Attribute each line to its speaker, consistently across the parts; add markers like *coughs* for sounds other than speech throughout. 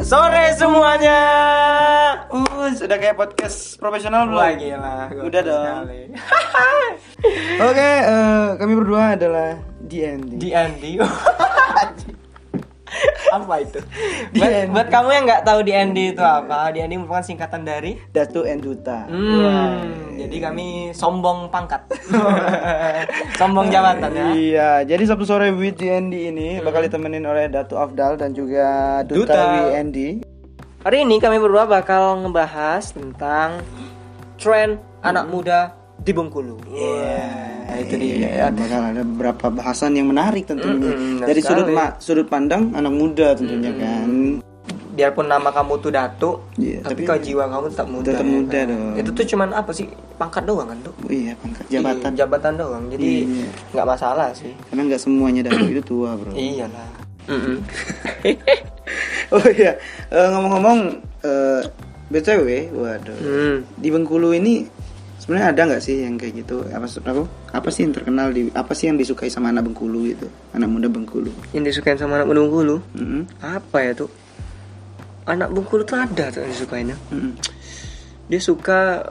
Speaker 1: sore semuanya. Uh, sudah kayak podcast profesional belum?
Speaker 2: Wah gila gokil
Speaker 1: Udah dong.
Speaker 2: sekali.
Speaker 1: Oke, eh, kami berdua adalah DND.
Speaker 2: Di Andy *laughs* Apa itu? Buat,
Speaker 1: DND.
Speaker 2: buat kamu yang nggak tahu di Andy itu apa Di Andy merupakan singkatan dari
Speaker 1: Datu and Duta.
Speaker 2: Hmm, jadi kami sombong pangkat *laughs* Sombong jabatan ya Hmm.
Speaker 1: Iya, jadi Sabtu sore with DND ini bakal ditemenin oleh Datu Afdal dan juga Duta,
Speaker 2: Duta.
Speaker 1: WND.
Speaker 2: Hari ini kami berdua bakal ngebahas tentang tren anak muda di Bengkulu. Iya,
Speaker 1: Nah, itu dia. Bakal ada beberapa bahasan yang menarik tentunya.
Speaker 2: Mm-mm, Hmm, benar
Speaker 1: Dari sudut
Speaker 2: sekali. Hmm.
Speaker 1: ma- sudut pandang anak muda tentunya kan.
Speaker 2: Biarpun nama kamu tuh Datu,
Speaker 1: Iya,
Speaker 2: tapi,
Speaker 1: tapi-
Speaker 2: kalau jiwa kamu tetap muda.
Speaker 1: Tetap
Speaker 2: ya
Speaker 1: muda
Speaker 2: kan?
Speaker 1: dong.
Speaker 2: Itu tuh cuman apa sih? Pangkat doang kan tuh.
Speaker 1: Oh iya, pangkat jabatan.
Speaker 2: Iya, jabatan doang. Jadi
Speaker 1: Iya.
Speaker 2: nggak masalah sih.
Speaker 1: Karena nggak semuanya
Speaker 2: *clears throat*
Speaker 1: Datu itu tua,
Speaker 2: Iya.
Speaker 1: Bro.
Speaker 2: Iyalah.
Speaker 1: *laughs* Oh iya, Eh, ngomong-ngomong eh, BTW, waduh.
Speaker 2: *laughs* hmm.
Speaker 1: Di Bengkulu ini sebenarnya ada nggak sih yang kayak gitu? Apa maksud aku? Apa sih yang terkenal di apa sih yang disukai sama anak Bengkulu gitu? Anak muda Bengkulu.
Speaker 2: Yang disukain sama anak Bengkulu
Speaker 1: Mm-mm,
Speaker 2: apa ya tuh? Anak Bengkulu tuh ada tuh yang disukainnya.
Speaker 1: mm-mm. *laughs*
Speaker 2: Dia suka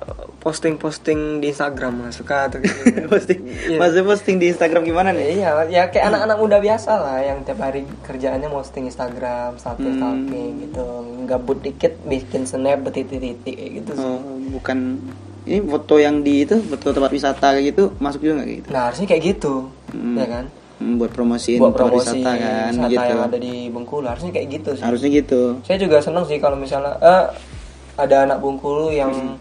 Speaker 2: posting-posting di Instagram, suka tuh
Speaker 1: *laughs*
Speaker 2: gitu.
Speaker 1: posting,
Speaker 2: Iya.
Speaker 1: maksudnya posting di Instagram gimana nih?
Speaker 2: Iya, ya kayak anak-anak muda biasa lah yang tiap hari kerjaannya posting Instagram, status
Speaker 1: Hmm.
Speaker 2: stalking gitu. Gabut dikit bikin snap betitik-titik kayak gitu sih.
Speaker 1: Oh, bukan ini foto yang di itu foto tempat wisata kayak gitu masuk juga nggak kayak gitu?
Speaker 2: Nah, harusnya kayak gitu.
Speaker 1: Hmm.
Speaker 2: Ya kan?
Speaker 1: Mm, Buat promosiin
Speaker 2: Buat
Speaker 1: tempat
Speaker 2: promosi
Speaker 1: wisata kan
Speaker 2: wisata
Speaker 1: gitu.
Speaker 2: yang ada di Bengkulu, harusnya kayak gitu sih.
Speaker 1: Harusnya gitu.
Speaker 2: Saya juga seneng sih kalau misalnya eh, ada anak Bengkulu yang
Speaker 1: Hmm.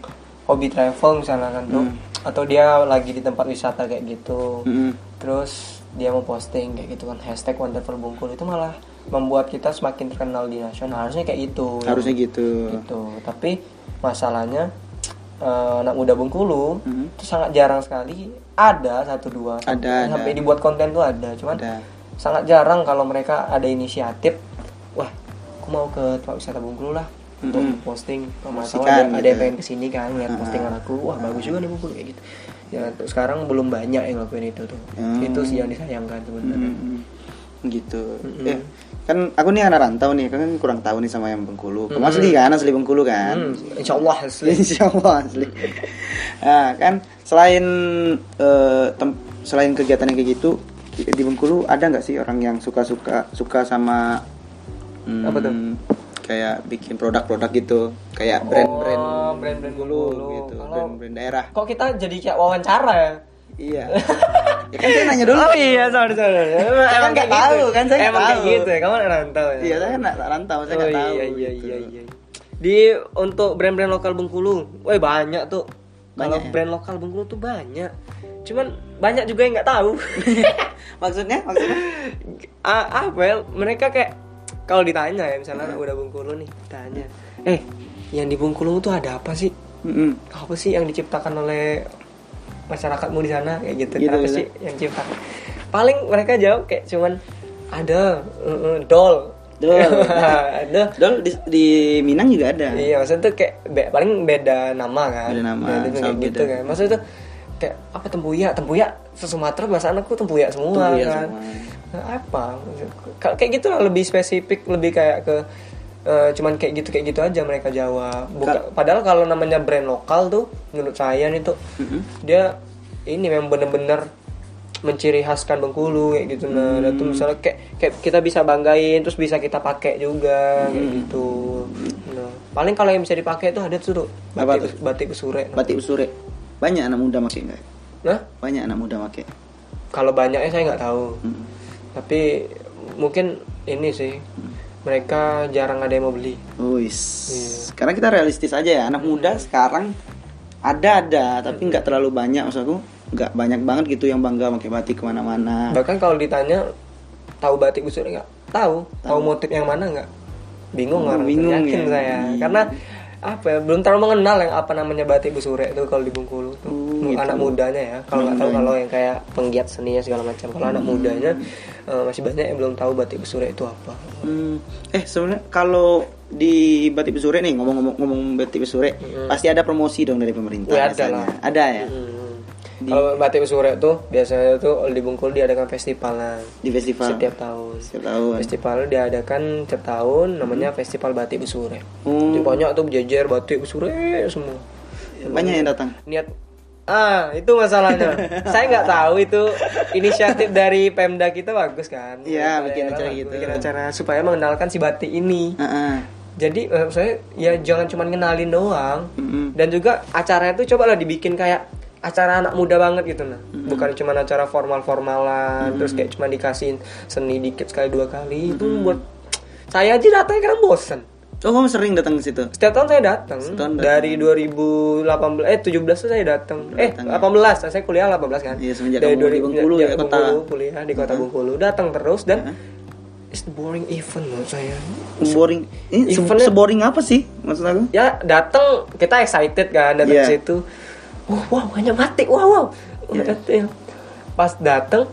Speaker 2: hobi travel misalnya kan tuh atau dia lagi di tempat wisata kayak gitu.
Speaker 1: Mm-mm.
Speaker 2: Terus dia mau posting kayak gitu kan hashtag Wonderful Bungkul itu malah membuat kita semakin terkenal di nasional harusnya kayak gitu
Speaker 1: Harusnya gitu.
Speaker 2: gitu tapi masalahnya eh, anak muda Bengkulu
Speaker 1: Mhm.
Speaker 2: itu sangat jarang sekali ada satu dua sampai,
Speaker 1: Ada, ada.
Speaker 2: sampai dibuat konten tuh ada cuman
Speaker 1: Ada.
Speaker 2: sangat jarang kalau mereka ada inisiatif wah aku mau ke tempat wisata Bengkulu lah untuk posting sama tahu ada,
Speaker 1: Promosikan
Speaker 2: ada yang
Speaker 1: gitu.
Speaker 2: pengen kesini kan lihat postingan aku wah bagus juga nih Bengkulu kayak gitu ya untuk sekarang belum banyak yang ngelakuin itu tuh
Speaker 1: Hmm.
Speaker 2: itu sih yang disayangkan sebenarnya
Speaker 1: Mm-mm. gitu ya kan aku nih anak rantau nih kan kurang tahu nih sama yang Bengkulu kamu asli kan asli Bengkulu kan
Speaker 2: Hmm, Insya Allah asli
Speaker 1: Insya Allah asli *laughs* nah kan selain eh, tem- selain kegiatan yang kayak gitu di di Bengkulu ada nggak sih orang yang suka suka suka sama mm,
Speaker 2: Apa tuh?
Speaker 1: kayak bikin produk-produk gitu kayak brand-brand
Speaker 2: Oh, brand-brand
Speaker 1: Bengkulu
Speaker 2: Bengkulu.
Speaker 1: gitu
Speaker 2: Kalau-
Speaker 1: brand-brand daerah
Speaker 2: kok kita jadi kayak wawancara ya
Speaker 1: iya *laughs* ya kan saya nanya dulu
Speaker 2: Oh iya, sorry sorry. *laughs* Emang,
Speaker 1: Saya
Speaker 2: emang
Speaker 1: nggak
Speaker 2: kayak
Speaker 1: tahu,
Speaker 2: gitu.
Speaker 1: kan saya nggak
Speaker 2: emang kayak
Speaker 1: tahu.
Speaker 2: gitu ya. Kamu anak rantau ya.
Speaker 1: iya saya kan anak rantau saya
Speaker 2: oh,
Speaker 1: nggak tahu
Speaker 2: iya, iya,
Speaker 1: gitu.
Speaker 2: iya, iya. Di untuk brand-brand lokal Bengkulu, woi banyak tuh. Kalau
Speaker 1: Banyak ya?
Speaker 2: brand lokal Bengkulu tuh banyak. Cuman banyak juga yang nggak
Speaker 1: *laughs*
Speaker 2: tahu.
Speaker 1: maksudnya maksudnya
Speaker 2: Ah, apa ya? Mereka kayak kalau ditanya ya
Speaker 1: Hmm.
Speaker 2: misalnya udah Bengkulu nih, tanya, "Eh, yang di Bengkulu tuh ada apa sih?"
Speaker 1: Mm-mm.
Speaker 2: apa sih yang diciptakan oleh masyarakatmu di sana kayak gitu,
Speaker 1: Gitu,
Speaker 2: apa
Speaker 1: gitu.
Speaker 2: sih yang ciptakan paling mereka jawab kayak cuman ada eh, eh, doll
Speaker 1: Doll.
Speaker 2: *laughs* ada
Speaker 1: Dol di, di Minang juga ada.
Speaker 2: iya maksudnya tuh kayak be- paling beda nama kan
Speaker 1: Beda nama,
Speaker 2: Nah, itu kayak
Speaker 1: sama
Speaker 2: gitu
Speaker 1: beda.
Speaker 2: kan maksudnya tuh kayak apa tempuyak tempuyak se Sumatera bahasa anakku tempuyak semua
Speaker 1: Tempuyak
Speaker 2: kan
Speaker 1: semua.
Speaker 2: Nah, apa Ka- kayak gitu lah lebih spesifik lebih kayak ke eh, cuman kayak gitu kayak gitu aja mereka jawab Buka, padahal kalau namanya brand lokal tuh menurut saya nih tuh dia ini memang bener-bener menciri khaskan Bengkulu kayak gitu nah dan tuh misalnya kayak, kayak kita bisa banggain terus bisa kita pakai juga kayak gitu Nah, paling kalau yang bisa dipakai tuh ada tuh tuh,
Speaker 1: Apa
Speaker 2: batik batik sure
Speaker 1: Batik usure. Banyak anak muda pakai nggak?
Speaker 2: nah
Speaker 1: Banyak anak muda pakai.
Speaker 2: kalau banyaknya saya nggak tahu
Speaker 1: Mm-mm.
Speaker 2: tapi mungkin ini sih mereka jarang ada yang mau beli
Speaker 1: Wis. Karena kita realistis aja ya, anak muda sekarang ada ada, tapi nggak terlalu banyak maksud aku. Nggak banyak banget gitu yang bangga pakai batik kemana-mana.
Speaker 2: bahkan kalau ditanya tahu batik busur nggak tahu tahu motif yang mana nggak bingung
Speaker 1: Oh,
Speaker 2: orang tuh,
Speaker 1: bingung
Speaker 2: yakin
Speaker 1: ya.
Speaker 2: saya
Speaker 1: Iya.
Speaker 2: karena apa ya, belum terlalu mengenal yang apa namanya batik busure itu kalau di Bengkulu
Speaker 1: Oh,
Speaker 2: tuh Menurut
Speaker 1: gitu. Hmm.
Speaker 2: anak mudanya ya kalau nggak tahu kalau yang kayak penggiat seninya segala macam kalau anak mudanya eh, masih banyak yang belum tahu batik busure itu apa
Speaker 1: Hmm. Eh sebenarnya kalau di batik usure nih ngomong-ngomong ngomong batik usure, pasti ada promosi dong dari pemerintah.
Speaker 2: Wih, ada
Speaker 1: biasanya.
Speaker 2: lah.
Speaker 1: Ada ya.
Speaker 2: Hmm. Kalau batik besurek tuh biasanya tuh di Bengkulu diadakan festivalan
Speaker 1: di festival
Speaker 2: setiap tahun.
Speaker 1: Setiap tahun
Speaker 2: Festival diadakan setiap tahun namanya Festival Batik Besurek.
Speaker 1: Hmm.
Speaker 2: Jadi banyak tuh jejer batik besurek semua.
Speaker 1: banyak yang datang
Speaker 2: niat ah itu
Speaker 1: *laughs*
Speaker 2: masalahnya saya nggak tahu itu inisiatif dari pemda kita bagus kan
Speaker 1: Iya,
Speaker 2: Dari
Speaker 1: bikin
Speaker 2: daerah
Speaker 1: acara
Speaker 2: bagus,
Speaker 1: gitu.
Speaker 2: bikin acara supaya mengenalkan si batik ini
Speaker 1: Heeh.
Speaker 2: jadi menurut saya ya jangan cuma kenalin doang
Speaker 1: Mm-mm.
Speaker 2: dan juga acaranya tuh cobalah dibikin kayak acara anak muda banget gitu nah
Speaker 1: Hmm.
Speaker 2: bukan cuma acara formal formalan terus kayak cuma dikasihin seni dikit sekali dua kali itu
Speaker 1: Hmm.
Speaker 2: buat saya aja datangnya karena bosen
Speaker 1: oh kamu sering datang ke situ
Speaker 2: setiap tahun saya datang.
Speaker 1: tahun
Speaker 2: Dari 2018 eh 17 tuh saya datang. Eh 18 saya kuliah 18 kan.
Speaker 1: ya. Iya, semenjak
Speaker 2: Dari
Speaker 1: kamu di
Speaker 2: 2000
Speaker 1: Bengkulu
Speaker 2: sejak
Speaker 1: ya, kota.
Speaker 2: Bengkulu, kuliah di kota Bengkulu datang terus dan it's the boring event menurut saya.
Speaker 1: boring ini se-
Speaker 2: Eventnya-
Speaker 1: seboring apa sih maksud aku
Speaker 2: Ya datang kita excited kan datang
Speaker 1: Hmm? Iya.
Speaker 2: ke situ. Wah, wow, banyak batik. Wow, wow. Wah,
Speaker 1: Iya.
Speaker 2: datang. Pas datang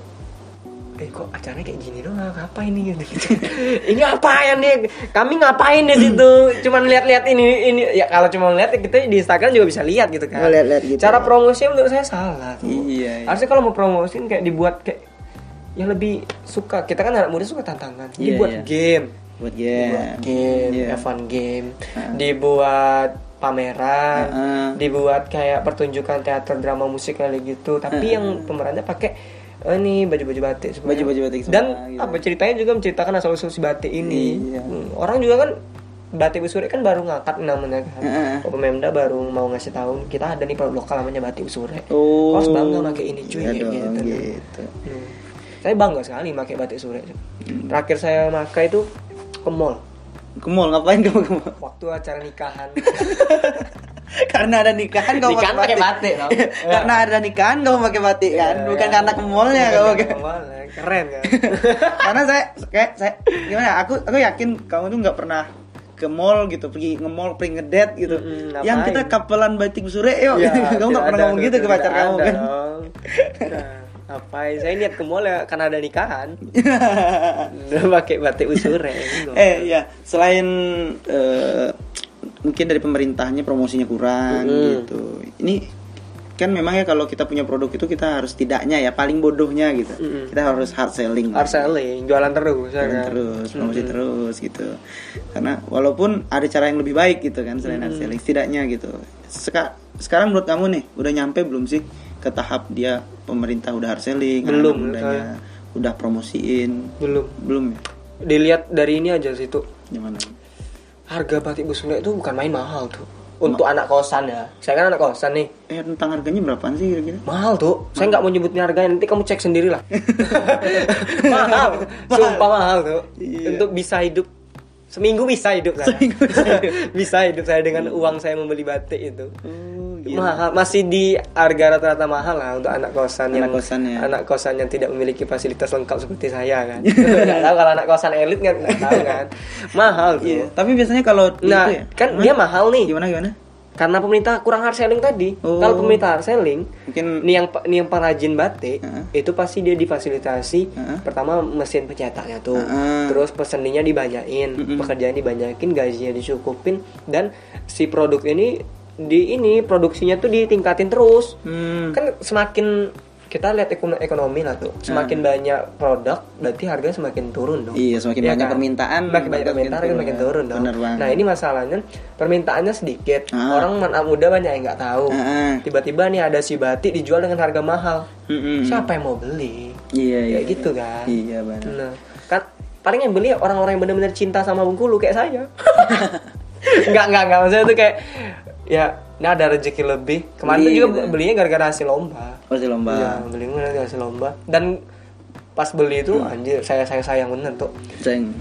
Speaker 2: Eh kok acaranya kayak gini doang, Ah, ngapain nih? *laughs* ini ngapain nih? Kami ngapain di situ? Cuman lihat-lihat ini ini ya kalau cuma lihat kita di Instagram juga bisa lihat gitu
Speaker 1: Oh,
Speaker 2: kan.
Speaker 1: lihat-lihat gitu.
Speaker 2: Cara promosinya menurut saya salah. tuh.
Speaker 1: Iya, iya.
Speaker 2: Harusnya kalau mau promosiin kayak dibuat kayak yang lebih suka. Kita kan anak muda suka tantangan.
Speaker 1: Iya,
Speaker 2: dibuat
Speaker 1: iya.
Speaker 2: game.
Speaker 1: buat
Speaker 2: Dibuat
Speaker 1: game
Speaker 2: game,
Speaker 1: Iya.
Speaker 2: have fun game. Dibuat pameran,
Speaker 1: Heeh.
Speaker 2: dibuat kayak pertunjukan teater drama musik kali gitu. Tapi yang pemerannya pakai eh, ini baju-baju batik semua.
Speaker 1: Iya. Baju-baju batik semua,
Speaker 2: Dan
Speaker 1: gitu.
Speaker 2: apa ceritanya juga menceritakan asal usul si batik ini.
Speaker 1: Iya.
Speaker 2: Hmm, Orang juga kan batik usurek kan baru ngangkat namanya kan.
Speaker 1: Heeh.
Speaker 2: Pemda baru mau ngasih tahu kita ada nih produk lokal namanya batik usurek.
Speaker 1: oh
Speaker 2: Harus bangga pakai ini cuy
Speaker 1: iya
Speaker 2: kayak
Speaker 1: dong,
Speaker 2: gitu.
Speaker 1: gitu.
Speaker 2: Hmm. Saya bangga sekali pakai batik surek.
Speaker 1: Hmm.
Speaker 2: Terakhir saya pakai itu ke mall
Speaker 1: ke mall ngapain kamu ke mall *laughs*
Speaker 2: waktu acara nikahan.
Speaker 1: karena ada nikahan kamu
Speaker 2: Nikahan pakai batik, tau.
Speaker 1: *laughs* karena ada nikahan kamu pakai batik kan
Speaker 2: Ya,
Speaker 1: bukan
Speaker 2: ya.
Speaker 1: karena ke mallnya
Speaker 2: Bukan
Speaker 1: kamu
Speaker 2: *laughs* karena ke mall, ya. keren kan.
Speaker 1: karena saya kayak saya gimana ya, aku aku yakin kamu tuh nggak pernah ke mall gitu pergi nge mall pergi ngedate gitu
Speaker 2: Mm-mm,
Speaker 1: yang
Speaker 2: ngapain?
Speaker 1: kita kapelan batik sore yuk
Speaker 2: Ya,
Speaker 1: *laughs* kamu nggak
Speaker 2: tidak
Speaker 1: pernah
Speaker 2: ada,
Speaker 1: ngomong gitu ke
Speaker 2: tidak
Speaker 1: pacar
Speaker 2: ada
Speaker 1: kamu kan
Speaker 2: dong. Nah, Ngapain? Saya niat ke mall ya karena ada
Speaker 1: *laughs*
Speaker 2: nikahan. Udah
Speaker 1: Nah.
Speaker 2: *laughs* pakai batik usure.
Speaker 1: eh ya selain eh, mungkin dari pemerintahnya promosinya kurang gitu ini kan memang ya kalau kita punya produk itu kita harus tidaknya ya paling bodohnya gitu kita harus hard selling kan.
Speaker 2: Hard selling, jualan terus ya
Speaker 1: Jalan
Speaker 2: kan.
Speaker 1: terus promosi terus gitu karena walaupun ada cara yang lebih baik gitu kan selain hard selling setidaknya gitu Seka- sekarang menurut kamu nih udah nyampe belum sih ke tahap dia pemerintah udah hard selling
Speaker 2: Belum,
Speaker 1: anak mudanya udah promosiin
Speaker 2: Belum.
Speaker 1: belum ya
Speaker 2: Dilihat dari ini aja situ.
Speaker 1: gimana
Speaker 2: Harga batik busunda itu bukan main mahal tuh. Untuk anak kosan ya. Saya kan anak kosan nih.
Speaker 1: eh tentang harganya berapaan sih kira-kira
Speaker 2: Mahal tuh. Saya nggak mau nyebutin harganya. Nanti kamu cek sendiri
Speaker 1: *laughs*
Speaker 2: lah. mahal. Sumpah mahal tuh.
Speaker 1: Iya.
Speaker 2: Untuk bisa hidup seminggu bisa hidup saya. *laughs* bisa hidup saya dengan uang saya membeli batik itu. Hmm,
Speaker 1: oh,
Speaker 2: Mahal, masih di harga rata-rata mahal lah untuk anak kosan
Speaker 1: Anak
Speaker 2: yang
Speaker 1: kosan ya.
Speaker 2: anak kosan yang tidak memiliki fasilitas lengkap seperti saya
Speaker 1: *laughs*
Speaker 2: kan. Nggak tahu kalau anak kosan elit kan nggak tahu kan. Mahal tuh.
Speaker 1: iya tapi biasanya kalau
Speaker 2: Nah,
Speaker 1: itu ya
Speaker 2: kan dia mahal nih
Speaker 1: gimana gimana
Speaker 2: karena pemerintah kurang hard selling tadi.
Speaker 1: Oh.
Speaker 2: Kalau pemerintah hard selling,
Speaker 1: Mungkin-
Speaker 2: nih yang nih yang pengrajin batik
Speaker 1: Heeh.
Speaker 2: itu pasti dia difasilitasi
Speaker 1: Heeh.
Speaker 2: pertama mesin pencetaknya tuh,
Speaker 1: Heeh.
Speaker 2: terus pesendinya dibanyakin, pekerjaan dibanyakin, gajinya dicukupin dan si produk ini di ini produksinya tuh ditingkatin terus.
Speaker 1: hmm
Speaker 2: Kan semakin kita lihat ekonomi, ekonomi lah tuh, semakin banyak produk berarti harga semakin turun dong.
Speaker 1: Iya, semakin
Speaker 2: Iya
Speaker 1: banyak
Speaker 2: kan?
Speaker 1: permintaan,
Speaker 2: makin banyak
Speaker 1: harga
Speaker 2: permintaan
Speaker 1: makin
Speaker 2: harga makin
Speaker 1: turun.
Speaker 2: turun dong.
Speaker 1: Bener banget.
Speaker 2: Nah ini masalahnya permintaannya sedikit,
Speaker 1: Ah.
Speaker 2: orang anak muda banyak yang nggak tahu.
Speaker 1: Ah, ah.
Speaker 2: Tiba-tiba nih ada si batik dijual dengan harga mahal,
Speaker 1: Mm-mm.
Speaker 2: siapa yang mau beli?
Speaker 1: hmm. iya iya
Speaker 2: Kayak gitu kan.
Speaker 1: iya benar
Speaker 2: Nah, kan paling yang beli orang-orang yang benar-benar cinta sama Bengkulu kayak saya.
Speaker 1: *laughs*
Speaker 2: Enggak, enggak, enggak. Maksudnya itu kayak ya, nah ada rezeki lebih. Kemarin tuh
Speaker 1: Beli
Speaker 2: juga
Speaker 1: gitu.
Speaker 2: belinya gara-gara hasil lomba.
Speaker 1: Masih lomba
Speaker 2: Iya, belinya gara-gara hasil lomba. Dan pas beli itu
Speaker 1: Hmm.
Speaker 2: anjir saya saya sayang bener tuh.
Speaker 1: Ceng.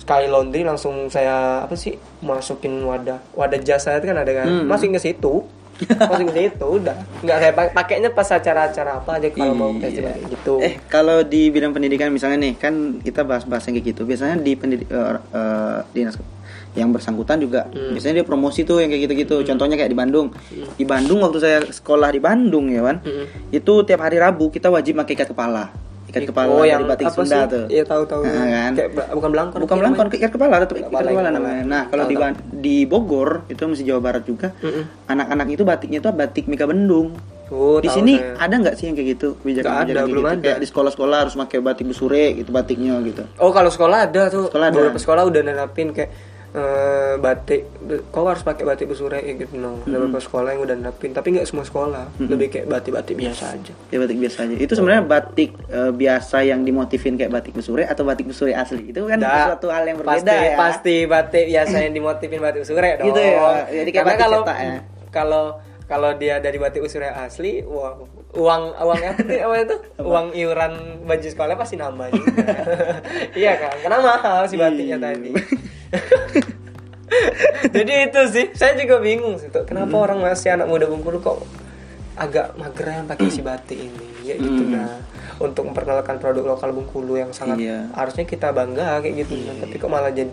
Speaker 2: Sekali laundry langsung saya apa sih masukin wadah wadah jas saya itu kan ada kan.
Speaker 1: Hmm.
Speaker 2: Masukin ke situ. Masukin ke situ udah. Enggak saya pak- pakainya pas acara-acara apa aja kalau mau
Speaker 1: Iya.
Speaker 2: festival kayak gitu.
Speaker 1: Eh, kalau di bidang pendidikan misalnya nih, kan kita bahas-bahas yang kayak gitu. Biasanya di pendidik eh, eh, dinas ke- yang bersangkutan juga biasanya dia promosi tuh yang kayak gitu-gitu. Contohnya kayak di Bandung. Di Bandung waktu saya sekolah di Bandung ya, Wan.
Speaker 2: Mm-mm.
Speaker 1: Itu tiap hari Rabu kita wajib pakai ikat kepala. Ikat kepala dari batik
Speaker 2: oh, apa
Speaker 1: Sunda
Speaker 2: sih?
Speaker 1: tuh.
Speaker 2: Iya tahu tahu.
Speaker 1: Nah, kan?
Speaker 2: Kayak bel- bukan belangkon.
Speaker 1: Bukan
Speaker 2: namanya.
Speaker 1: melangkon, ikat kepala tetap ikat
Speaker 2: Kepala,
Speaker 1: kepala
Speaker 2: kepala.
Speaker 1: namanya. Nah, kalau di Ban- di Bogor itu masih Jawa Barat juga.
Speaker 2: Mm-mm.
Speaker 1: Anak-anak itu batiknya tuh batik Mika Bendung.
Speaker 2: Oh,
Speaker 1: di
Speaker 2: tahu
Speaker 1: sini
Speaker 2: saya.
Speaker 1: ada nggak sih yang kayak gitu
Speaker 2: Nggak
Speaker 1: kebijakan
Speaker 2: ada,
Speaker 1: kebijakan
Speaker 2: belum
Speaker 1: kayak gitu?
Speaker 2: ada.
Speaker 1: kayak di sekolah-sekolah harus pakai batik besure gitu batiknya gitu
Speaker 2: Oh kalau sekolah ada tuh.
Speaker 1: Sekolah ada.
Speaker 2: Beberapa sekolah udah nerapin kayak eh, batik. be- Kau harus pakai batik besure ya gitu. No. Ada beberapa sekolah yang udah nerapin, tapi nggak semua sekolah. Lebih kayak batik-batik biasa aja.
Speaker 1: ya batik biasa aja
Speaker 2: Oh.
Speaker 1: itu sebenarnya batik eh, biasa yang dimotifin kayak batik besure atau batik besure asli itu kan
Speaker 2: Nggak.
Speaker 1: suatu hal yang berbeda
Speaker 2: pasti,
Speaker 1: ya
Speaker 2: Pasti batik biasa yang dimotifin batik usure dong.
Speaker 1: Gitu ya, jadi kayak
Speaker 2: Karena
Speaker 1: batik
Speaker 2: kalau
Speaker 1: cetak ya.
Speaker 2: kalau kalau dia dari batik usure asli, uang uang uang apa sih, apa itu? Uang iuran baju sekolah pasti nambah juga. *laughs* iya kan? Karena mahal si batiknya
Speaker 1: Iya.
Speaker 2: tadi. *laughs* jadi itu sih, saya juga bingung sih tuh. Kenapa
Speaker 1: Hmm.
Speaker 2: orang masih anak muda Bengkulu kok agak mageran pakai si batik ini? Ya gitu
Speaker 1: Hmm.
Speaker 2: nah. Untuk memperkenalkan produk lokal Bengkulu yang sangat
Speaker 1: Iya.
Speaker 2: harusnya kita bangga kayak gitu kan. tapi kok malah jadi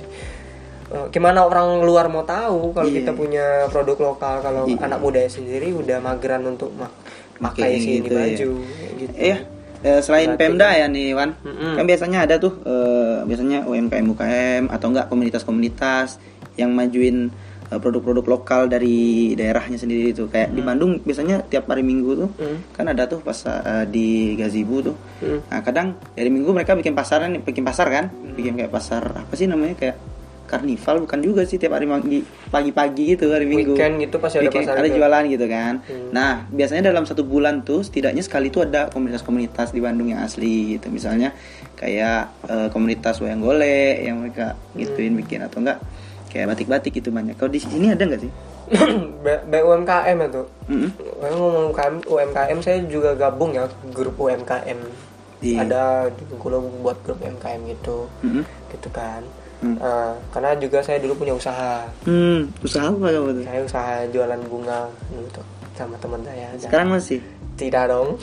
Speaker 2: eh, gimana orang luar mau tahu kalau
Speaker 1: Iya.
Speaker 2: kita punya produk lokal kalau anak muda sendiri udah mageran untuk mak
Speaker 1: Pakai
Speaker 2: pakai si ini
Speaker 1: gitu ya.
Speaker 2: baju kayak gitu.
Speaker 1: Eh, eh, selain Pemda ya nih Wan,
Speaker 2: kan- Mm-mm.
Speaker 1: kan biasanya ada tuh eh, biasanya UMKM UKM atau enggak komunitas-komunitas yang majuin eh, produk-produk lokal dari daerahnya sendiri itu. Kayak di Bandung biasanya tiap hari Minggu tuh
Speaker 2: Mm.
Speaker 1: kan ada tuh pas eh, di Gazebo tuh.
Speaker 2: Mm.
Speaker 1: Nah, kadang dari Minggu mereka bikin pasaran, bikin pasar kan, bikin kayak pasar apa sih namanya kayak karnival bukan juga sih tiap hari pagi- pagi-pagi gitu hari Minggu.
Speaker 2: Weekend gitu pasti ada
Speaker 1: Weekend
Speaker 2: pasar
Speaker 1: ada
Speaker 2: juga. *clears throat*
Speaker 1: jualan gitu kan.
Speaker 2: Hmm.
Speaker 1: Nah, biasanya dalam satu bulan tuh setidaknya sekali tuh ada komunitas-komunitas di Bandung yang asli gitu. Misalnya kayak eh, komunitas wayang golek yang mereka
Speaker 2: Hmm.
Speaker 1: gituin bikin atau enggak kayak batik-batik gitu banyak. Kalau di sini ada enggak sih?
Speaker 2: B- BUMKM itu.
Speaker 1: Mm-mm.
Speaker 2: Kalau ngomong UMKM, UMKM saya juga gabung ya grup UMKM.
Speaker 1: Iya.
Speaker 2: Ada di Bengkulu buat grup UMKM gitu.
Speaker 1: Mm-mm.
Speaker 2: Gitu kan.
Speaker 1: Hmm.
Speaker 2: Eh, karena juga saya dulu punya usaha.
Speaker 1: Hmm, usaha apa kamu tuh?
Speaker 2: Saya usaha jualan bunga gitu sama teman saya. aja.
Speaker 1: Sekarang masih.
Speaker 2: Tidak dong.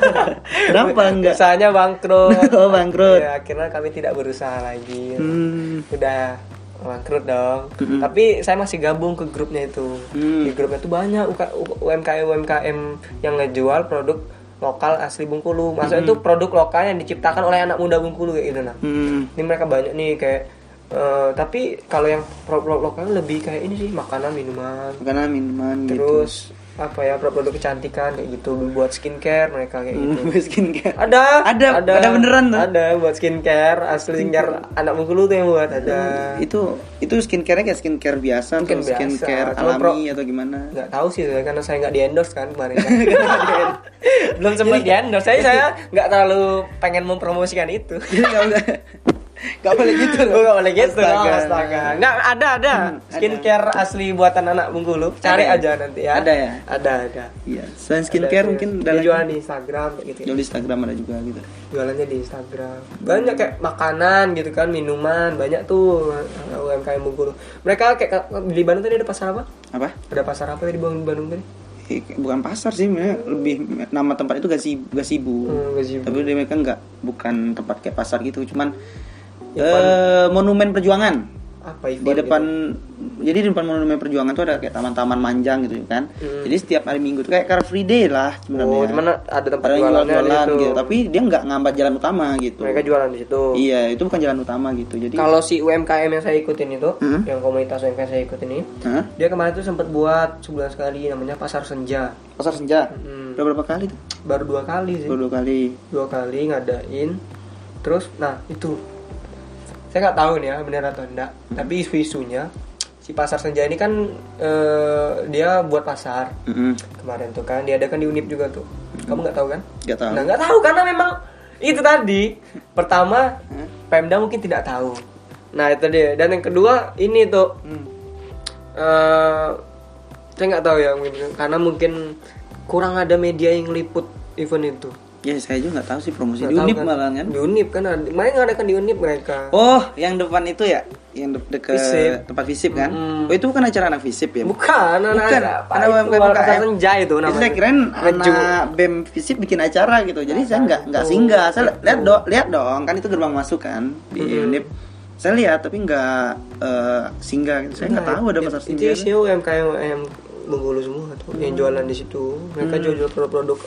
Speaker 2: *laughs*
Speaker 1: Kenapa enggak?
Speaker 2: Usahanya bangkrut.
Speaker 1: Oh, *laughs* bangkrut.
Speaker 2: Ya, akhirnya kami tidak berusaha lagi.
Speaker 1: Hmm.
Speaker 2: Udah bangkrut dong.
Speaker 1: Mm-mm.
Speaker 2: Tapi saya masih gabung ke grupnya itu.
Speaker 1: Hmm.
Speaker 2: Di grupnya itu banyak UK UMKM UMKM yang ngejual produk lokal asli Bengkulu. Maksudnya itu produk lokal yang diciptakan oleh anak muda Bengkulu kayak gitu nah.
Speaker 1: Hmm.
Speaker 2: Ini mereka banyak nih kayak eh, tapi kalau yang produk lokal lebih kayak ini sih makanan minuman
Speaker 1: Makanan minuman gitu.
Speaker 2: terus apa ya produk-produk kecantikan kayak gitu buat skincare mereka kayak gitu
Speaker 1: Hmm, *laughs* skincare.
Speaker 2: ada
Speaker 1: Ada, ada beneran tuh.
Speaker 2: ada buat skincare asli skincare anak mungkulu tuh yang buat ada
Speaker 1: Itu itu skincare kayak skincare biasa atau
Speaker 2: Skincare biasa.
Speaker 1: skincare
Speaker 2: Cuma pro-
Speaker 1: alami atau gimana? *laughs*
Speaker 2: nggak tahu sih saya karena saya nggak di endorse kan *laughs* kemarin kan. belum sempat di endorse saya saya nggak terlalu pengen mempromosikan itu
Speaker 1: Jadi nggak boleh nggak boleh gitu loh.
Speaker 2: Gua nggak boleh gitu
Speaker 1: Astaga. Hmm,
Speaker 2: astaga. astaga. Nggak, ada ada skincare asli buatan anak Bengkulu.
Speaker 1: Ada
Speaker 2: Cari
Speaker 1: ya?
Speaker 2: aja nanti ya.
Speaker 1: Ada ya?
Speaker 2: Ada ada.
Speaker 1: Iya, selain skincare
Speaker 2: Ada,
Speaker 1: mungkin
Speaker 2: ada.
Speaker 1: dalam
Speaker 2: dijualan di Instagram kayak gitu.
Speaker 1: jual di Instagram ada juga gitu.
Speaker 2: Jualannya di Instagram. Banyak kayak makanan gitu kan, minuman, banyak tuh eh, UMKM Bengkulu. Mereka kayak di Bandung tadi ada pasar apa?
Speaker 1: Apa?
Speaker 2: Ada pasar apa tadi Bang, di Bandung tadi?
Speaker 1: Eh, Bukan pasar sih, sebenarnya lebih nama tempat itu gazebo, gazebo.
Speaker 2: Hmm, gazebo.
Speaker 1: Tapi dia mereka nggak bukan tempat kayak pasar gitu, cuman eh, monumen perjuangan.
Speaker 2: Apa itu?
Speaker 1: di depan jadi di depan monumen perjuangan tuh ada kayak taman-taman manjang gitu kan jadi setiap hari minggu tuh kayak car free day lah sebenarnya
Speaker 2: Hmm. Oh, cuman ada tempat
Speaker 1: ya. Ada yang
Speaker 2: jualannya
Speaker 1: jualan-jualan
Speaker 2: gitu.
Speaker 1: gitu tapi dia nggak ngambat jalan utama gitu
Speaker 2: Mereka jualan di situ.
Speaker 1: iya itu bukan jalan utama gitu jadi
Speaker 2: Kalau si UMKM yang saya ikutin itu,
Speaker 1: Hmm.
Speaker 2: yang komunitas UMKM saya ikutin ini,
Speaker 1: Hah?
Speaker 2: dia kemarin tuh sempat buat sebulan sekali namanya pasar senja.
Speaker 1: pasar senja
Speaker 2: Hmm.
Speaker 1: udah berapa kali tuh
Speaker 2: baru dua kali sih
Speaker 1: Baru dua kali
Speaker 2: dua kali ngadain terus nah itu saya nggak tahu nih ya benar atau enggak tapi isu-isunya si pasar senja ini kan eh, dia buat pasar
Speaker 1: Mm-mm.
Speaker 2: kemarin tuh kan diadakan di unip juga tuh kamu nggak tahu kan
Speaker 1: nggak tahu
Speaker 2: nah nggak tahu karena memang itu tadi pertama
Speaker 1: Hmm?
Speaker 2: pemda mungkin tidak tahu nah itu dia dan yang kedua ini tuh
Speaker 1: Hmm.
Speaker 2: eh saya nggak tahu ya mungkin- karena mungkin kurang ada media yang liput event itu
Speaker 1: ya saya juga nggak tahu sih promosi
Speaker 2: Nggak
Speaker 1: di
Speaker 2: tahu
Speaker 1: unip
Speaker 2: kan.
Speaker 1: malah kan
Speaker 2: di unip kan ada, main ngadakan di unip mereka
Speaker 1: oh yang depan itu ya yang de- dekat
Speaker 2: Visip.
Speaker 1: tempat visip kan
Speaker 2: Mm-mm.
Speaker 1: oh itu bukan acara anak visip ya
Speaker 2: bukan anak
Speaker 1: Bukan,
Speaker 2: apa
Speaker 1: anak
Speaker 2: itu,
Speaker 1: UMKM.
Speaker 2: Warung pasar senja itu namanya
Speaker 1: saya kirain
Speaker 2: Ngeju.
Speaker 1: anak BEM Visip bikin acara gitu. Jadi saya nggak nggak
Speaker 2: itu.
Speaker 1: singgah. Saya lihat dong, lihat dong kan itu gerbang masuk kan di
Speaker 2: Mm-mm.
Speaker 1: Unip. Saya lihat tapi nggak eh, singgah. gitu. Saya nggak
Speaker 2: Nah,
Speaker 1: tahu ada
Speaker 2: itu-
Speaker 1: pasar
Speaker 2: itu
Speaker 1: senja.
Speaker 2: isi UMKM UMKM Bengkulu semua tuh
Speaker 1: Hmm.
Speaker 2: yang jualan di situ mereka jual-jual produk-produk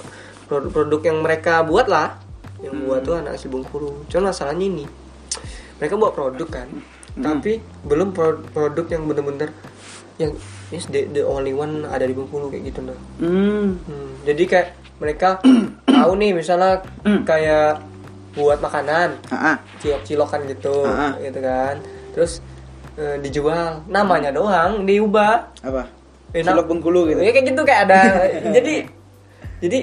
Speaker 2: produk-produk yang mereka buat lah yang
Speaker 1: Hmm.
Speaker 2: buat tuh anak asli Bengkulu cuman masalahnya ini
Speaker 1: Hmm.
Speaker 2: mereka buat produk kan tapi belum pro- produk yang bener-bener yang is the, the only one ada di Bengkulu kayak gitu nah
Speaker 1: Hmm.
Speaker 2: Hmm, jadi kayak
Speaker 1: *coughs*
Speaker 2: mereka tahu nih misalnya
Speaker 1: Hmm.
Speaker 2: kayak buat makanan
Speaker 1: Ah, ah.
Speaker 2: cilok-cilokan gitu
Speaker 1: Ah, ah.
Speaker 2: gitu kan terus eh, dijual namanya doang diubah
Speaker 1: apa?
Speaker 2: Eh, nah-
Speaker 1: Cilok Bengkulu gitu.
Speaker 2: Ya, kayak gitu kayak
Speaker 1: *laughs*
Speaker 2: ada jadi jadi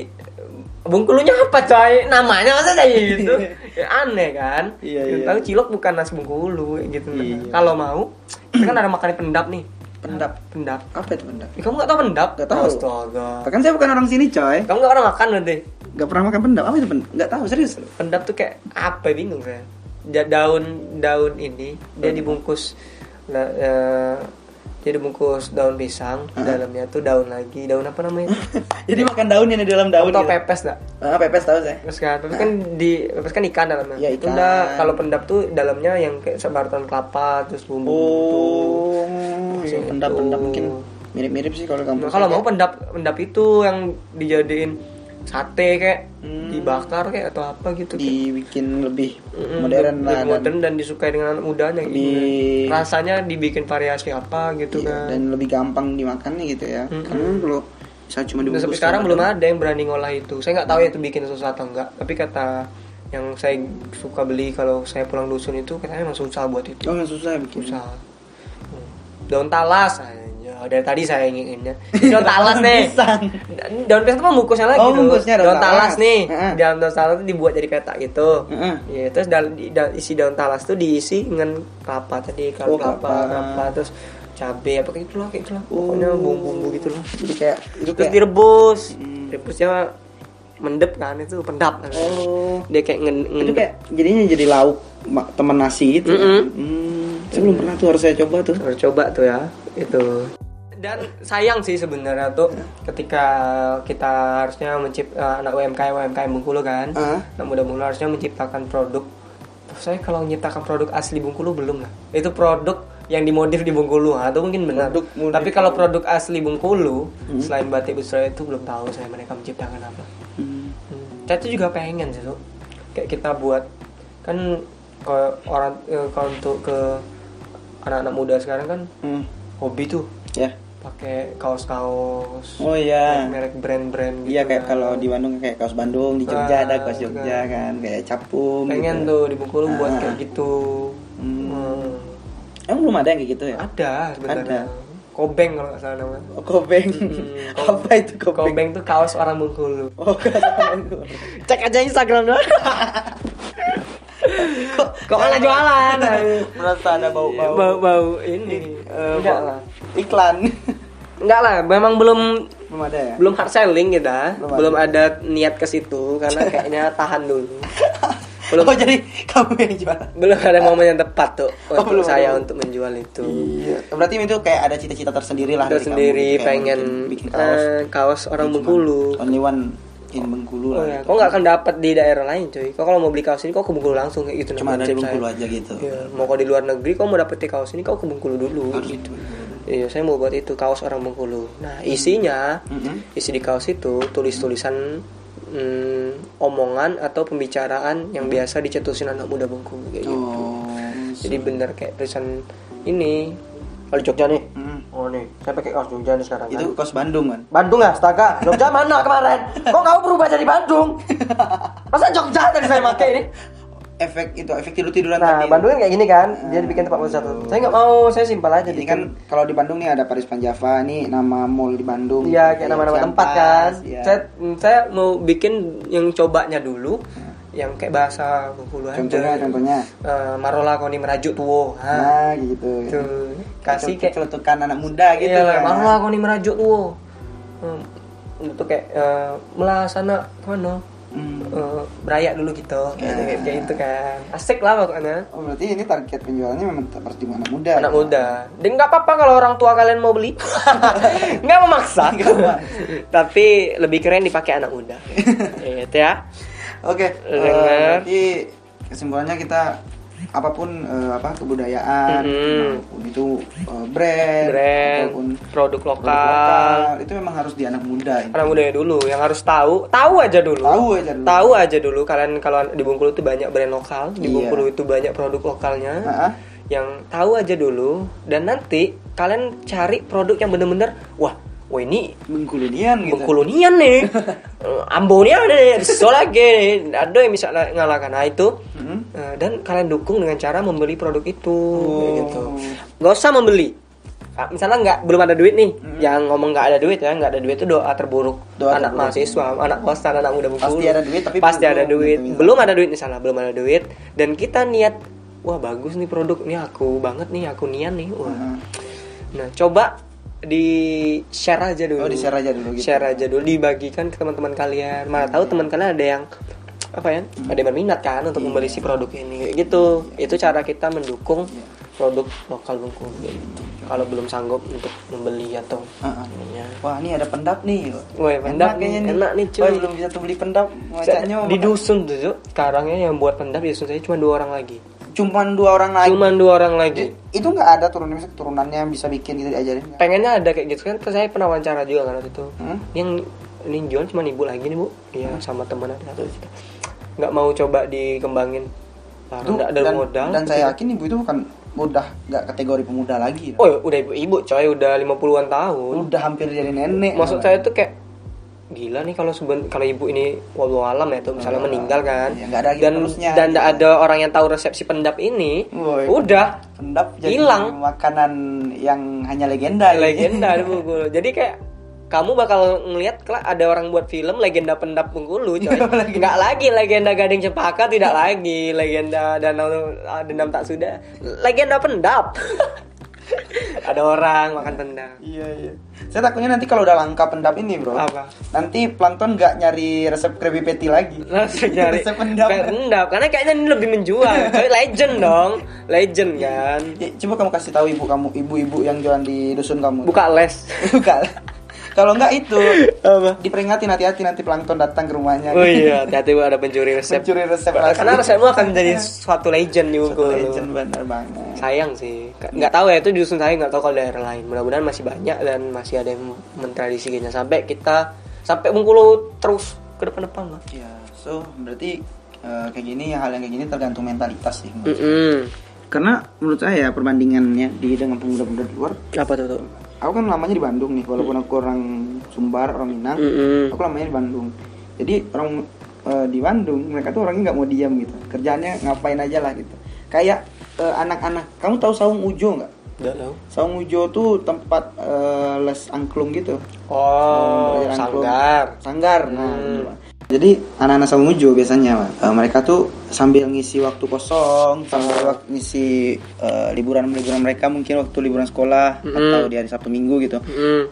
Speaker 2: bengkulunya apa coy namanya masa
Speaker 1: *laughs*
Speaker 2: kayak gitu Ya, aneh kan
Speaker 1: Iya,
Speaker 2: Ya,
Speaker 1: iya.
Speaker 2: tahu cilok bukan nasi bengkulu kayak gitu
Speaker 1: Iya.
Speaker 2: kalau mau itu kan ada makanan pendap nih
Speaker 1: Pendap.
Speaker 2: pendap
Speaker 1: Apa itu pendap?
Speaker 2: Eh, kamu nggak tahu pendap
Speaker 1: Nggak tahu.
Speaker 2: astaga
Speaker 1: Kan saya bukan orang sini, coy.
Speaker 2: kamu nggak pernah makan berarti
Speaker 1: Gak pernah makan pendap. Apa itu pendap? Gak tahu, serius.
Speaker 2: pendap tuh kayak apa ya, bingung saya Da- daun daun ini
Speaker 1: Hmm.
Speaker 2: dia dibungkus la- eh, dia dibungkus daun pisang
Speaker 1: Hmm.
Speaker 2: dalamnya tuh daun lagi daun apa namanya
Speaker 1: Jadi makan daun yang di dalam *laughs*
Speaker 2: daun
Speaker 1: daun.
Speaker 2: tau
Speaker 1: gitu.
Speaker 2: pepes dah
Speaker 1: Ah, pepes tahu saya.
Speaker 2: pepes kan pepes kan di pepes kan ikan dalamnya
Speaker 1: Iya,
Speaker 2: itu
Speaker 1: ikan.
Speaker 2: enggak kalau pendap tuh dalamnya yang kayak sebaran kelapa terus bumbu
Speaker 1: Oh, iya,
Speaker 2: Maksudnya
Speaker 1: pendap-pendap
Speaker 2: itu.
Speaker 1: mungkin mirip-mirip sih kalau
Speaker 2: Nah,
Speaker 1: kampus.
Speaker 2: kalau
Speaker 1: saya.
Speaker 2: mau pendap pendap itu yang dijadiin sate kayak
Speaker 1: Hmm.
Speaker 2: dibakar kayak atau apa gitu kayak.
Speaker 1: dibikin lebih
Speaker 2: Mm-mm,
Speaker 1: modern
Speaker 2: lebih
Speaker 1: lah dan-
Speaker 2: modern dan disukai dengan anak mudanya gitu
Speaker 1: Lebih-
Speaker 2: kan. rasanya dibikin variasi apa gitu
Speaker 1: Iya,
Speaker 2: kan
Speaker 1: dan lebih gampang dimakannya gitu ya. Karena kalau misalnya cuma
Speaker 2: dan
Speaker 1: dibungkus
Speaker 2: sampai sekarang
Speaker 1: sama-
Speaker 2: belum ada yang berani ngolah itu saya nggak tahu ya itu bikin susah atau enggak tapi kata yang saya suka beli kalau saya pulang dusun itu katanya emang susah buat itu
Speaker 1: Oh, yang susah bikin.
Speaker 2: susah Hmm. daun talas aja dari tadi saya inginnya Ini daun
Speaker 1: *laughs*
Speaker 2: talas nih
Speaker 1: Pisang.
Speaker 2: daun pisang itu mah bungkusnya lagi
Speaker 1: Oh,
Speaker 2: tuh.
Speaker 1: bungkusnya daun
Speaker 2: daun, talas,
Speaker 1: talas.
Speaker 2: nih
Speaker 1: Heeh.
Speaker 2: daun daun talas itu dibuat jadi petak gitu
Speaker 1: Heeh.
Speaker 2: Iya, terus dal- di- da- isi daun talas tuh diisi dengan kelapa tadi
Speaker 1: Oh,
Speaker 2: kalau kelapa,
Speaker 1: kelapa.
Speaker 2: kelapa terus cabe apa kayak itulah kayak itulah pokoknya
Speaker 1: Oh.
Speaker 2: bumbu-bumbu gitu loh
Speaker 1: Jadi kayak itu
Speaker 2: terus
Speaker 1: kayak
Speaker 2: direbus
Speaker 1: Hmm.
Speaker 2: rebusnya mendep kan itu pendap kan.
Speaker 1: Oh.
Speaker 2: dia kayak ngen,
Speaker 1: itu
Speaker 2: ngendep.
Speaker 1: kayak jadinya jadi lauk ma- teman nasi gitu. ya.
Speaker 2: Mm. Mm-mm.
Speaker 1: Hmm, saya belum pernah tuh harus saya coba tuh.
Speaker 2: harus coba tuh ya itu dan sayang sih sebenarnya tuh
Speaker 1: Ya.
Speaker 2: ketika kita harusnya mencipta anak UMKM UMKM Bengkulu kan
Speaker 1: Ah.
Speaker 2: nah mudah-mudahan harusnya menciptakan produk Tuh, saya kalau menciptakan produk asli Bengkulu belum lah itu produk yang dimodif di Bengkulu atau mungkin benar
Speaker 1: Produk modif.
Speaker 2: tapi kalau produk asli Bengkulu selain batik busra itu belum tahu saya mereka menciptakan apa
Speaker 1: Hmm.
Speaker 2: Hmm. Saya tuh juga pengen sih tuh kayak kita buat kan kalau orang eh, kalau untuk ke anak-anak muda sekarang kan
Speaker 1: Hmm.
Speaker 2: hobi tuh
Speaker 1: Ya.
Speaker 2: pakai kaos-kaos
Speaker 1: Oh iya.
Speaker 2: merek brand-brand gitu.
Speaker 1: Iya kayak
Speaker 2: kan.
Speaker 1: kalau di Bandung kayak kaos Bandung, di Jogja
Speaker 2: Ah,
Speaker 1: ada kaos Jogja kan, kayak capung.
Speaker 2: pengen
Speaker 1: gitu.
Speaker 2: tuh di Bengkulu buat
Speaker 1: Ah.
Speaker 2: kayak gitu.
Speaker 1: Hmm.
Speaker 2: Hmm.
Speaker 1: Emang belum ada yang kayak gitu
Speaker 2: Ah.
Speaker 1: ya?
Speaker 2: Eh, Ada sebenarnya.
Speaker 1: Ada.
Speaker 2: Kobeng kalau nggak salah namanya.
Speaker 1: Oh, Kobeng. *laughs*
Speaker 2: Hmm,
Speaker 1: Apa itu kobeng?
Speaker 2: Kobeng tuh kaos orang Bengkulu.
Speaker 1: Oh, kobeng.
Speaker 2: *laughs* Cek aja Instagram
Speaker 1: *laughs*
Speaker 2: doang. kok kok malah jualan?
Speaker 1: Merasa ada bau-bau.
Speaker 2: Iya, bau-bau ini
Speaker 1: Eh,
Speaker 2: enggak
Speaker 1: bau-
Speaker 2: lah
Speaker 1: Iklan. *laughs*
Speaker 2: enggak lah memang belum
Speaker 1: belum ada ya?
Speaker 2: belum hard selling kita
Speaker 1: Belum
Speaker 2: belum,
Speaker 1: ada.
Speaker 2: ada niat ke situ
Speaker 1: *laughs*
Speaker 2: karena kayaknya tahan dulu belum
Speaker 1: Oh, jadi kamu yang jualan.
Speaker 2: belum ada momen yang tepat tuh
Speaker 1: Oh,
Speaker 2: untuk
Speaker 1: belum,
Speaker 2: saya
Speaker 1: belum.
Speaker 2: untuk menjual itu
Speaker 1: Iya. Berarti itu kayak ada cita-cita tersendiri lah
Speaker 2: kita
Speaker 1: dari
Speaker 2: sendiri
Speaker 1: kamu. Kayak
Speaker 2: pengen
Speaker 1: bikin, bikin
Speaker 2: eh,
Speaker 1: kaos.
Speaker 2: kaos, orang Bengkulu
Speaker 1: Only one in Bengkulu lah.
Speaker 2: Oh ya, kok nggak akan dapat di daerah lain cuy kok kalau mau beli kaos ini kok ke Bengkulu langsung kayak gitu
Speaker 1: Cuma
Speaker 2: nah,
Speaker 1: ada di
Speaker 2: prinsip
Speaker 1: Bengkulu
Speaker 2: saya.
Speaker 1: aja gitu.
Speaker 2: Iya, mau kau di luar negeri kok mau dapet kaos ini kau ke Bengkulu dulu
Speaker 1: Harus
Speaker 2: gitu.
Speaker 1: itu. Hmm.
Speaker 2: Iya, saya mau buat itu kaos orang Bengkulu. Nah, isinya,
Speaker 1: Mm-mm.
Speaker 2: isi di kaos itu tulis-tulisan mm, omongan atau pembicaraan yang biasa dicetusin anak muda Bengkulu kayak gitu.
Speaker 1: Hmm. Oh.
Speaker 2: Jadi bener kayak tulisan ini. Kalau di Jogja nih.
Speaker 1: Mm.
Speaker 2: Oh nih, saya pakai kaos Jogja nih sekarang.
Speaker 1: Itu kaos Bandung kan?
Speaker 2: Bandung ya, astaga. Jogja mana kemarin? Kok kamu berubah jadi Bandung? Masa Jogja tadi saya pakai ini?
Speaker 1: Efek itu, efek tidur-tiduran
Speaker 2: Nah,
Speaker 1: tadi.
Speaker 2: Bandung kan kayak gini kan, dia bikin tempat wisata. Saya nggak mau, saya simpel aja.
Speaker 1: Ini
Speaker 2: bikin.
Speaker 1: kan kalau di Bandung nih ada Paris Panjava, ini nama mall di Bandung.
Speaker 2: Iya kayak nama-nama
Speaker 1: Ciampas,
Speaker 2: tempat kan.
Speaker 1: iya.
Speaker 2: Saya saya mau bikin yang cobanya dulu, yang kayak bahasa Bengkulu aja.
Speaker 1: Contohnya, contohnya.
Speaker 2: Eh, Marola koni merajuk tuwo. Ha.
Speaker 1: Nah, gitu.
Speaker 2: Itu. Kasih kayak
Speaker 1: celetukan anak muda gitu kan.
Speaker 2: Iya, Marola koni merajuk tuwo. Hmm, itu kayak eh, melasana kono.
Speaker 1: Hmm.
Speaker 2: Eh, berayak dulu gitu. Kayak gitu, kayak gitu kan. Asik lah pokoknya. Iya.
Speaker 1: Oh, berarti ini target penjualannya memang harus di anak muda. gitu.
Speaker 2: anak muda. Dan nggak apa-apa kalau orang tua kalian mau *laughs* beli, nggak memaksa. Tapi lebih keren dipakai anak *laughs* muda. gitu ya.
Speaker 1: Oke. eh,
Speaker 2: Dengar.
Speaker 1: berarti kesimpulannya kita apapun eh, apa kebudayaan,
Speaker 2: Mm-mm.
Speaker 1: maupun itu eh, brand,
Speaker 2: Mm-hmm. Brand,
Speaker 1: ataupun
Speaker 2: produk
Speaker 1: produk
Speaker 2: lokal.
Speaker 1: lokal, itu memang harus di anak muda. ini.
Speaker 2: Anak muda ya dulu yang harus tahu, tahu aja dulu.
Speaker 1: Tahu aja dulu.
Speaker 2: Tahu aja dulu kalian kalau di Bungkulu itu banyak brand lokal, di
Speaker 1: Iya.
Speaker 2: Bungkulu itu banyak produk lokalnya.
Speaker 1: Ah, ah.
Speaker 2: yang tahu aja dulu dan nanti kalian cari produk yang bener-bener wah wah ini
Speaker 1: Mengkulinian gitu.
Speaker 2: Bengkulonian nih Eh, Ambonian nih Bisa lagi nih Ada yang bisa la- ngalahkan Nah itu
Speaker 1: Hmm.
Speaker 2: Eh, Dan kalian dukung dengan cara membeli produk itu
Speaker 1: Oh.
Speaker 2: kayak gitu. Gak usah membeli Ah, Misalnya nggak belum ada duit nih Yang ngomong nggak ada duit ya nggak ada duit itu doa terburuk
Speaker 1: Doa
Speaker 2: Anak
Speaker 1: terburuk.
Speaker 2: mahasiswa Anak kosan Anak muda
Speaker 1: Pasti
Speaker 2: Bengkulu.
Speaker 1: ada duit, tapi
Speaker 2: Pasti
Speaker 1: belum
Speaker 2: ada duit
Speaker 1: gitu,
Speaker 2: Belum ada duit misalnya Belum ada duit Dan kita niat Wah bagus nih produk Ini aku banget nih Aku nian nih Wah Nah, coba di share aja dulu.
Speaker 1: Oh, di-share aja dulu gitu.
Speaker 2: Share aja dulu dibagikan ke teman-teman kalian. Mana tahu teman kalian ada yang apa ya? Ada yang berminat kan untuk membeli si produk ini kayak gitu. Itu cara kita mendukung produk lokal Bengkulu kayak gitu. Kalau belum sanggup untuk membeli atau
Speaker 1: Heeh.
Speaker 2: ininya.
Speaker 1: Wah, ini ada pendap nih.
Speaker 2: Woi, pendap
Speaker 1: kayaknya
Speaker 2: nih. Enak nih, cuy.
Speaker 1: Wah, belum bisa tuh beli pendap. Bacanya
Speaker 2: di dusun tuh, Cuk. sekarangnya yang buat pendap di dusun saya cuma dua orang lagi.
Speaker 1: cuman dua orang lagi.
Speaker 2: Cuma dua orang lagi.
Speaker 1: Itu nggak ada turunnya misalnya keturunannya yang bisa bikin gitu diajarin. nggak?
Speaker 2: pengennya ada kayak gitu kan terus saya pernah wawancara juga kan waktu itu
Speaker 1: Hmm?
Speaker 2: yang ini jualan cuma ibu lagi nih bu iya sama teman ada satu juta nggak mau coba dikembangin karena
Speaker 1: Itu-
Speaker 2: nggak ada
Speaker 1: dan,
Speaker 2: modal gitu ya.
Speaker 1: Dan saya yakin ibu itu bukan mudah nggak kategori pemuda lagi.
Speaker 2: oh ya, udah ibu ibu coy udah 50-an tahun
Speaker 1: Udah hampir jadi nenek.
Speaker 2: maksud saya tuh kayak gila nih kalau seben kalau ibu ini walau alam ya tuh misalnya meninggal kan
Speaker 1: Iya, nggak ada lagi
Speaker 2: dan
Speaker 1: penerusnya.
Speaker 2: dan nggak ada orang yang tahu resepsi pendap ini
Speaker 1: Woi.
Speaker 2: udah
Speaker 1: pendap jadi
Speaker 2: Hilang.
Speaker 1: makanan yang hanya legenda.
Speaker 2: *laughs* legenda di Bengkulu. Jadi kayak kamu bakal ngelihat kelak ada orang buat film legenda pendap Bengkulu, coy. Nggak lagi Iya, legenda Gading Cempaka, tidak lagi legenda Danau ah, Dendam Tak Sudah, legenda pendap. *laughs* ada orang makan pendap.
Speaker 1: Iya iya. Saya takutnya nanti kalau udah langka pendap ini bro,
Speaker 2: Apa?
Speaker 1: nanti plankton nggak nyari resep krabby patty lagi.
Speaker 2: Langsung nyari
Speaker 1: Resep pendap.
Speaker 2: Iya, pendap. Karena kayaknya ini lebih menjual, coy. Legend dong, legend kan.
Speaker 1: Ya, coba kamu kasih tahu ibu kamu, ibu-ibu yang jualan di dusun kamu.
Speaker 2: Buka les.
Speaker 1: *laughs* Bukan. kalau nggak itu
Speaker 2: Apa?
Speaker 1: diperingatin hati-hati nanti plankton datang ke rumahnya.
Speaker 2: Oh iya, hati-hati Bu, ada pencuri resep.
Speaker 1: Mencuri resep lagi.
Speaker 2: Karena resepmu akan jadi suatu legend di
Speaker 1: Satu
Speaker 2: Bengkulu.
Speaker 1: legend bener banget.
Speaker 2: sayang sih Ka- nggak tahu ya itu di dusun saya nggak tahu kalau daerah lain mudah-mudahan masih banyak dan masih ada yang mentradisikannya sampai kita sampai Bengkulu terus ke depan-depan lah
Speaker 1: Iya. So berarti eh, kayak gini hal yang kayak gini tergantung mentalitas sih.
Speaker 2: Mm.
Speaker 3: Karena menurut
Speaker 1: ya,
Speaker 3: saya perbandingannya di dengan pemuda-pemuda di luar,
Speaker 2: apa tuh tuh
Speaker 1: Aku kan lamanya di Bandung nih, walaupun aku orang Sumbar, orang Minang,
Speaker 2: Mm-mm.
Speaker 1: aku lamanya di Bandung. Jadi orang eh, di Bandung mereka tuh orangnya nggak mau diam gitu, kerjaannya ngapain aja lah gitu. Kayak eh, anak-anak, kamu tahu Saung Ujo nggak?
Speaker 2: nggak tahu
Speaker 1: Saung Ujo tuh tempat eh, les angklung gitu.
Speaker 2: oh
Speaker 1: Belajar angklung.
Speaker 2: sanggar
Speaker 1: Sanggar. Nah, gitu, Pak. jadi anak-anak Saung Ujo biasanya Pak, eh, mereka tuh sambil ngisi waktu kosong, sambil wak- ngisi eh, liburan-liburan mereka mungkin waktu liburan sekolah atau di hari Sabtu Minggu gitu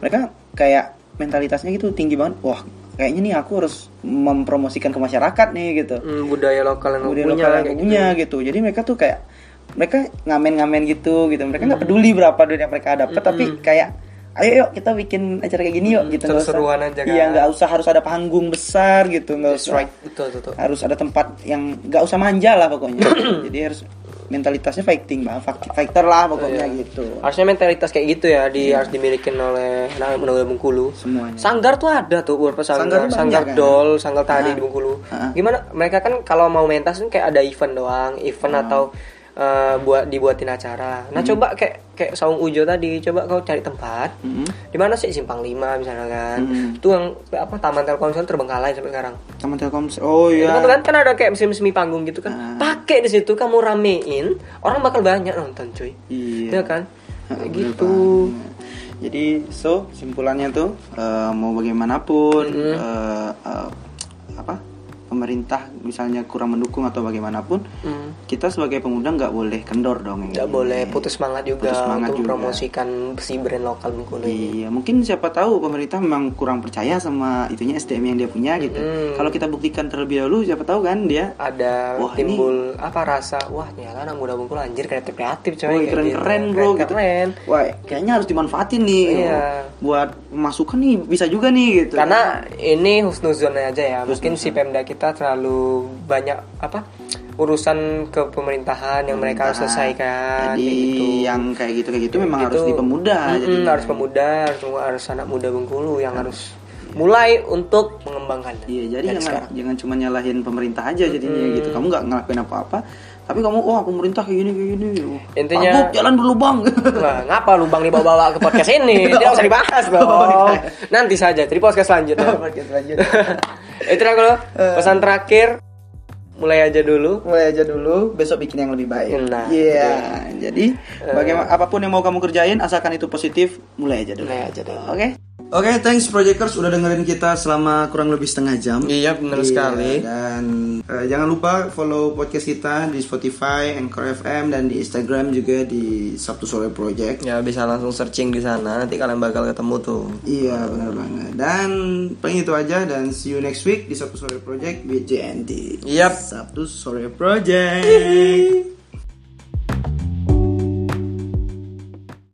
Speaker 1: mereka kayak mentalitasnya gitu tinggi banget wah kayaknya nih aku harus mempromosikan ke masyarakat nih gitu
Speaker 2: Hmm, budaya lokal yang
Speaker 1: budaya
Speaker 2: punya
Speaker 1: lokal
Speaker 2: lah,
Speaker 1: yang
Speaker 2: kayak
Speaker 1: aku punya gitu. jadi mereka tuh kayak mereka ngamen-ngamen gitu gitu mereka
Speaker 2: Hmm.
Speaker 1: nggak peduli berapa duit yang mereka dapat tapi kayak ayo yuk kita bikin acara kayak gini yuk gitu nggak usah-
Speaker 2: seru-seruan aja kan.
Speaker 1: iya nggak usah harus ada panggung besar gitu nggak
Speaker 2: gitu.
Speaker 1: usah
Speaker 2: right betul tuh tuh
Speaker 1: harus ada tempat yang nggak usah manja lah
Speaker 2: *coughs*
Speaker 1: pokoknya jadi harus mentalitasnya fighting banget fight- fighter lah pokoknya
Speaker 2: Iya.
Speaker 1: gitu
Speaker 2: harusnya mentalitas kayak gitu ya di harus dimiliki oleh anak muda Bengkulu
Speaker 1: semuanya
Speaker 2: Sanggar tuh ada tuh beberapa
Speaker 1: Sanggar
Speaker 2: sanggar,
Speaker 1: tuh
Speaker 2: sanggar
Speaker 1: banyak, kan? Ah.
Speaker 2: dol, sanggar tadi di Bengkulu. Gimana? Mereka kan kalau mau mentas kan kayak ada event doang, event
Speaker 1: Ah.
Speaker 2: atau eh, buat dibuatin acara.
Speaker 1: Hmm.
Speaker 2: Nah coba kayak kayak saung ujo tadi, coba kau cari tempat.
Speaker 1: Mm-hmm.
Speaker 2: Di mana sih simpang 5 misalnya kan?
Speaker 1: Hmm.
Speaker 2: Itu yang apa taman telkomsel terbengkalai sampai sekarang.
Speaker 1: sama telkom oh
Speaker 2: Itu
Speaker 1: iya Ah.
Speaker 2: kan- kan kan ada kayak semi-semi panggung gitu kan. Pakai di situ kamu ramein, orang bakal banyak nonton cuy.
Speaker 1: Iya. Ah,
Speaker 2: Iya kan? Kayak
Speaker 1: Bener
Speaker 2: gitu.
Speaker 1: banget. Jadi so simpulannya tuh eh, mau bagaimanapun eh, eh, apa pemerintah misalnya kurang mendukung atau bagaimanapun
Speaker 2: Hmm.
Speaker 1: kita sebagai pemuda nggak boleh kendor dong. ya. yang
Speaker 2: Nggak
Speaker 1: ini.
Speaker 2: boleh putus semangat
Speaker 1: Hmm.
Speaker 2: juga
Speaker 1: Putus semangat
Speaker 2: untuk
Speaker 1: juga.
Speaker 2: mempromosikan si brand lokal Bengkulu ini.
Speaker 1: Iya, mungkin siapa tahu pemerintah memang kurang percaya sama itunya SDM yang dia punya gitu.
Speaker 2: Mm.
Speaker 1: Kalau kita buktikan terlebih dahulu, siapa tahu kan dia
Speaker 2: ada
Speaker 1: Wah,
Speaker 2: timbul apa rasa wah nyala anak muda bengkul anjir kreatif kreatif coy
Speaker 1: Woi
Speaker 2: kayak
Speaker 1: keren
Speaker 2: gitu.
Speaker 1: keren bro gitu.
Speaker 2: keren
Speaker 1: Wah kayaknya harus dimanfaatin nih.
Speaker 2: Iya.
Speaker 1: Buat masukan nih bisa juga nih gitu.
Speaker 2: karena ini husnuzon aja ya mungkin si pemda kita terlalu banyak apa urusan ke pemerintahan yang mereka harus selesaikan
Speaker 1: Jadi
Speaker 2: kayak gitu
Speaker 1: yang kayak gitu kayak gitu memang harus
Speaker 2: Itu-
Speaker 1: di pemuda.
Speaker 2: Mm-mm,
Speaker 1: Jadi
Speaker 2: harus pemuda harus, harus anak muda bengkulu yang harus mulai untuk mengembangkan
Speaker 1: Iya, jadi jangan jangan cuma nyalahin pemerintah aja jadinya gitu. Kamu nggak ngelakuin apa-apa, tapi kamu wah pemerintah kayak gini kayak gini
Speaker 2: Intinya-
Speaker 1: Mabuk, jalan *laughs* berlubang
Speaker 2: Nah, ngapa lubang dibawa-bawa ke podcast *laughs* ini? Dia usah dibahas dong. Nanti saja, di podcast selanjutnya.
Speaker 1: Podcast lanjut.
Speaker 2: *laughs* Itu aku loh. Pesan terakhir mulai aja dulu.
Speaker 1: mulai aja dulu besok bikin yang lebih baik
Speaker 2: Nah,
Speaker 1: Iya. Eh. jadi bagaimana apapun yang mau kamu kerjain asalkan itu positif mulai aja dulu
Speaker 2: Mulai aja dulu.
Speaker 1: oke Oke, thanks Projectors udah dengerin kita selama kurang lebih setengah jam.
Speaker 2: Iya, benar sekali.
Speaker 1: Dan eh, jangan lupa follow podcast kita di Spotify, Anchor FM, dan di Instagram juga di Sabtu Sore Project.
Speaker 2: Ya bisa langsung searching di sana. Nanti kalian bakal ketemu tuh.
Speaker 1: Iya, benar banget. Dan paling itu aja dan see you
Speaker 2: Iya.
Speaker 1: next week di Sabtu Sore Project with JNT.
Speaker 2: Yap.
Speaker 1: Sabtu Sore Project.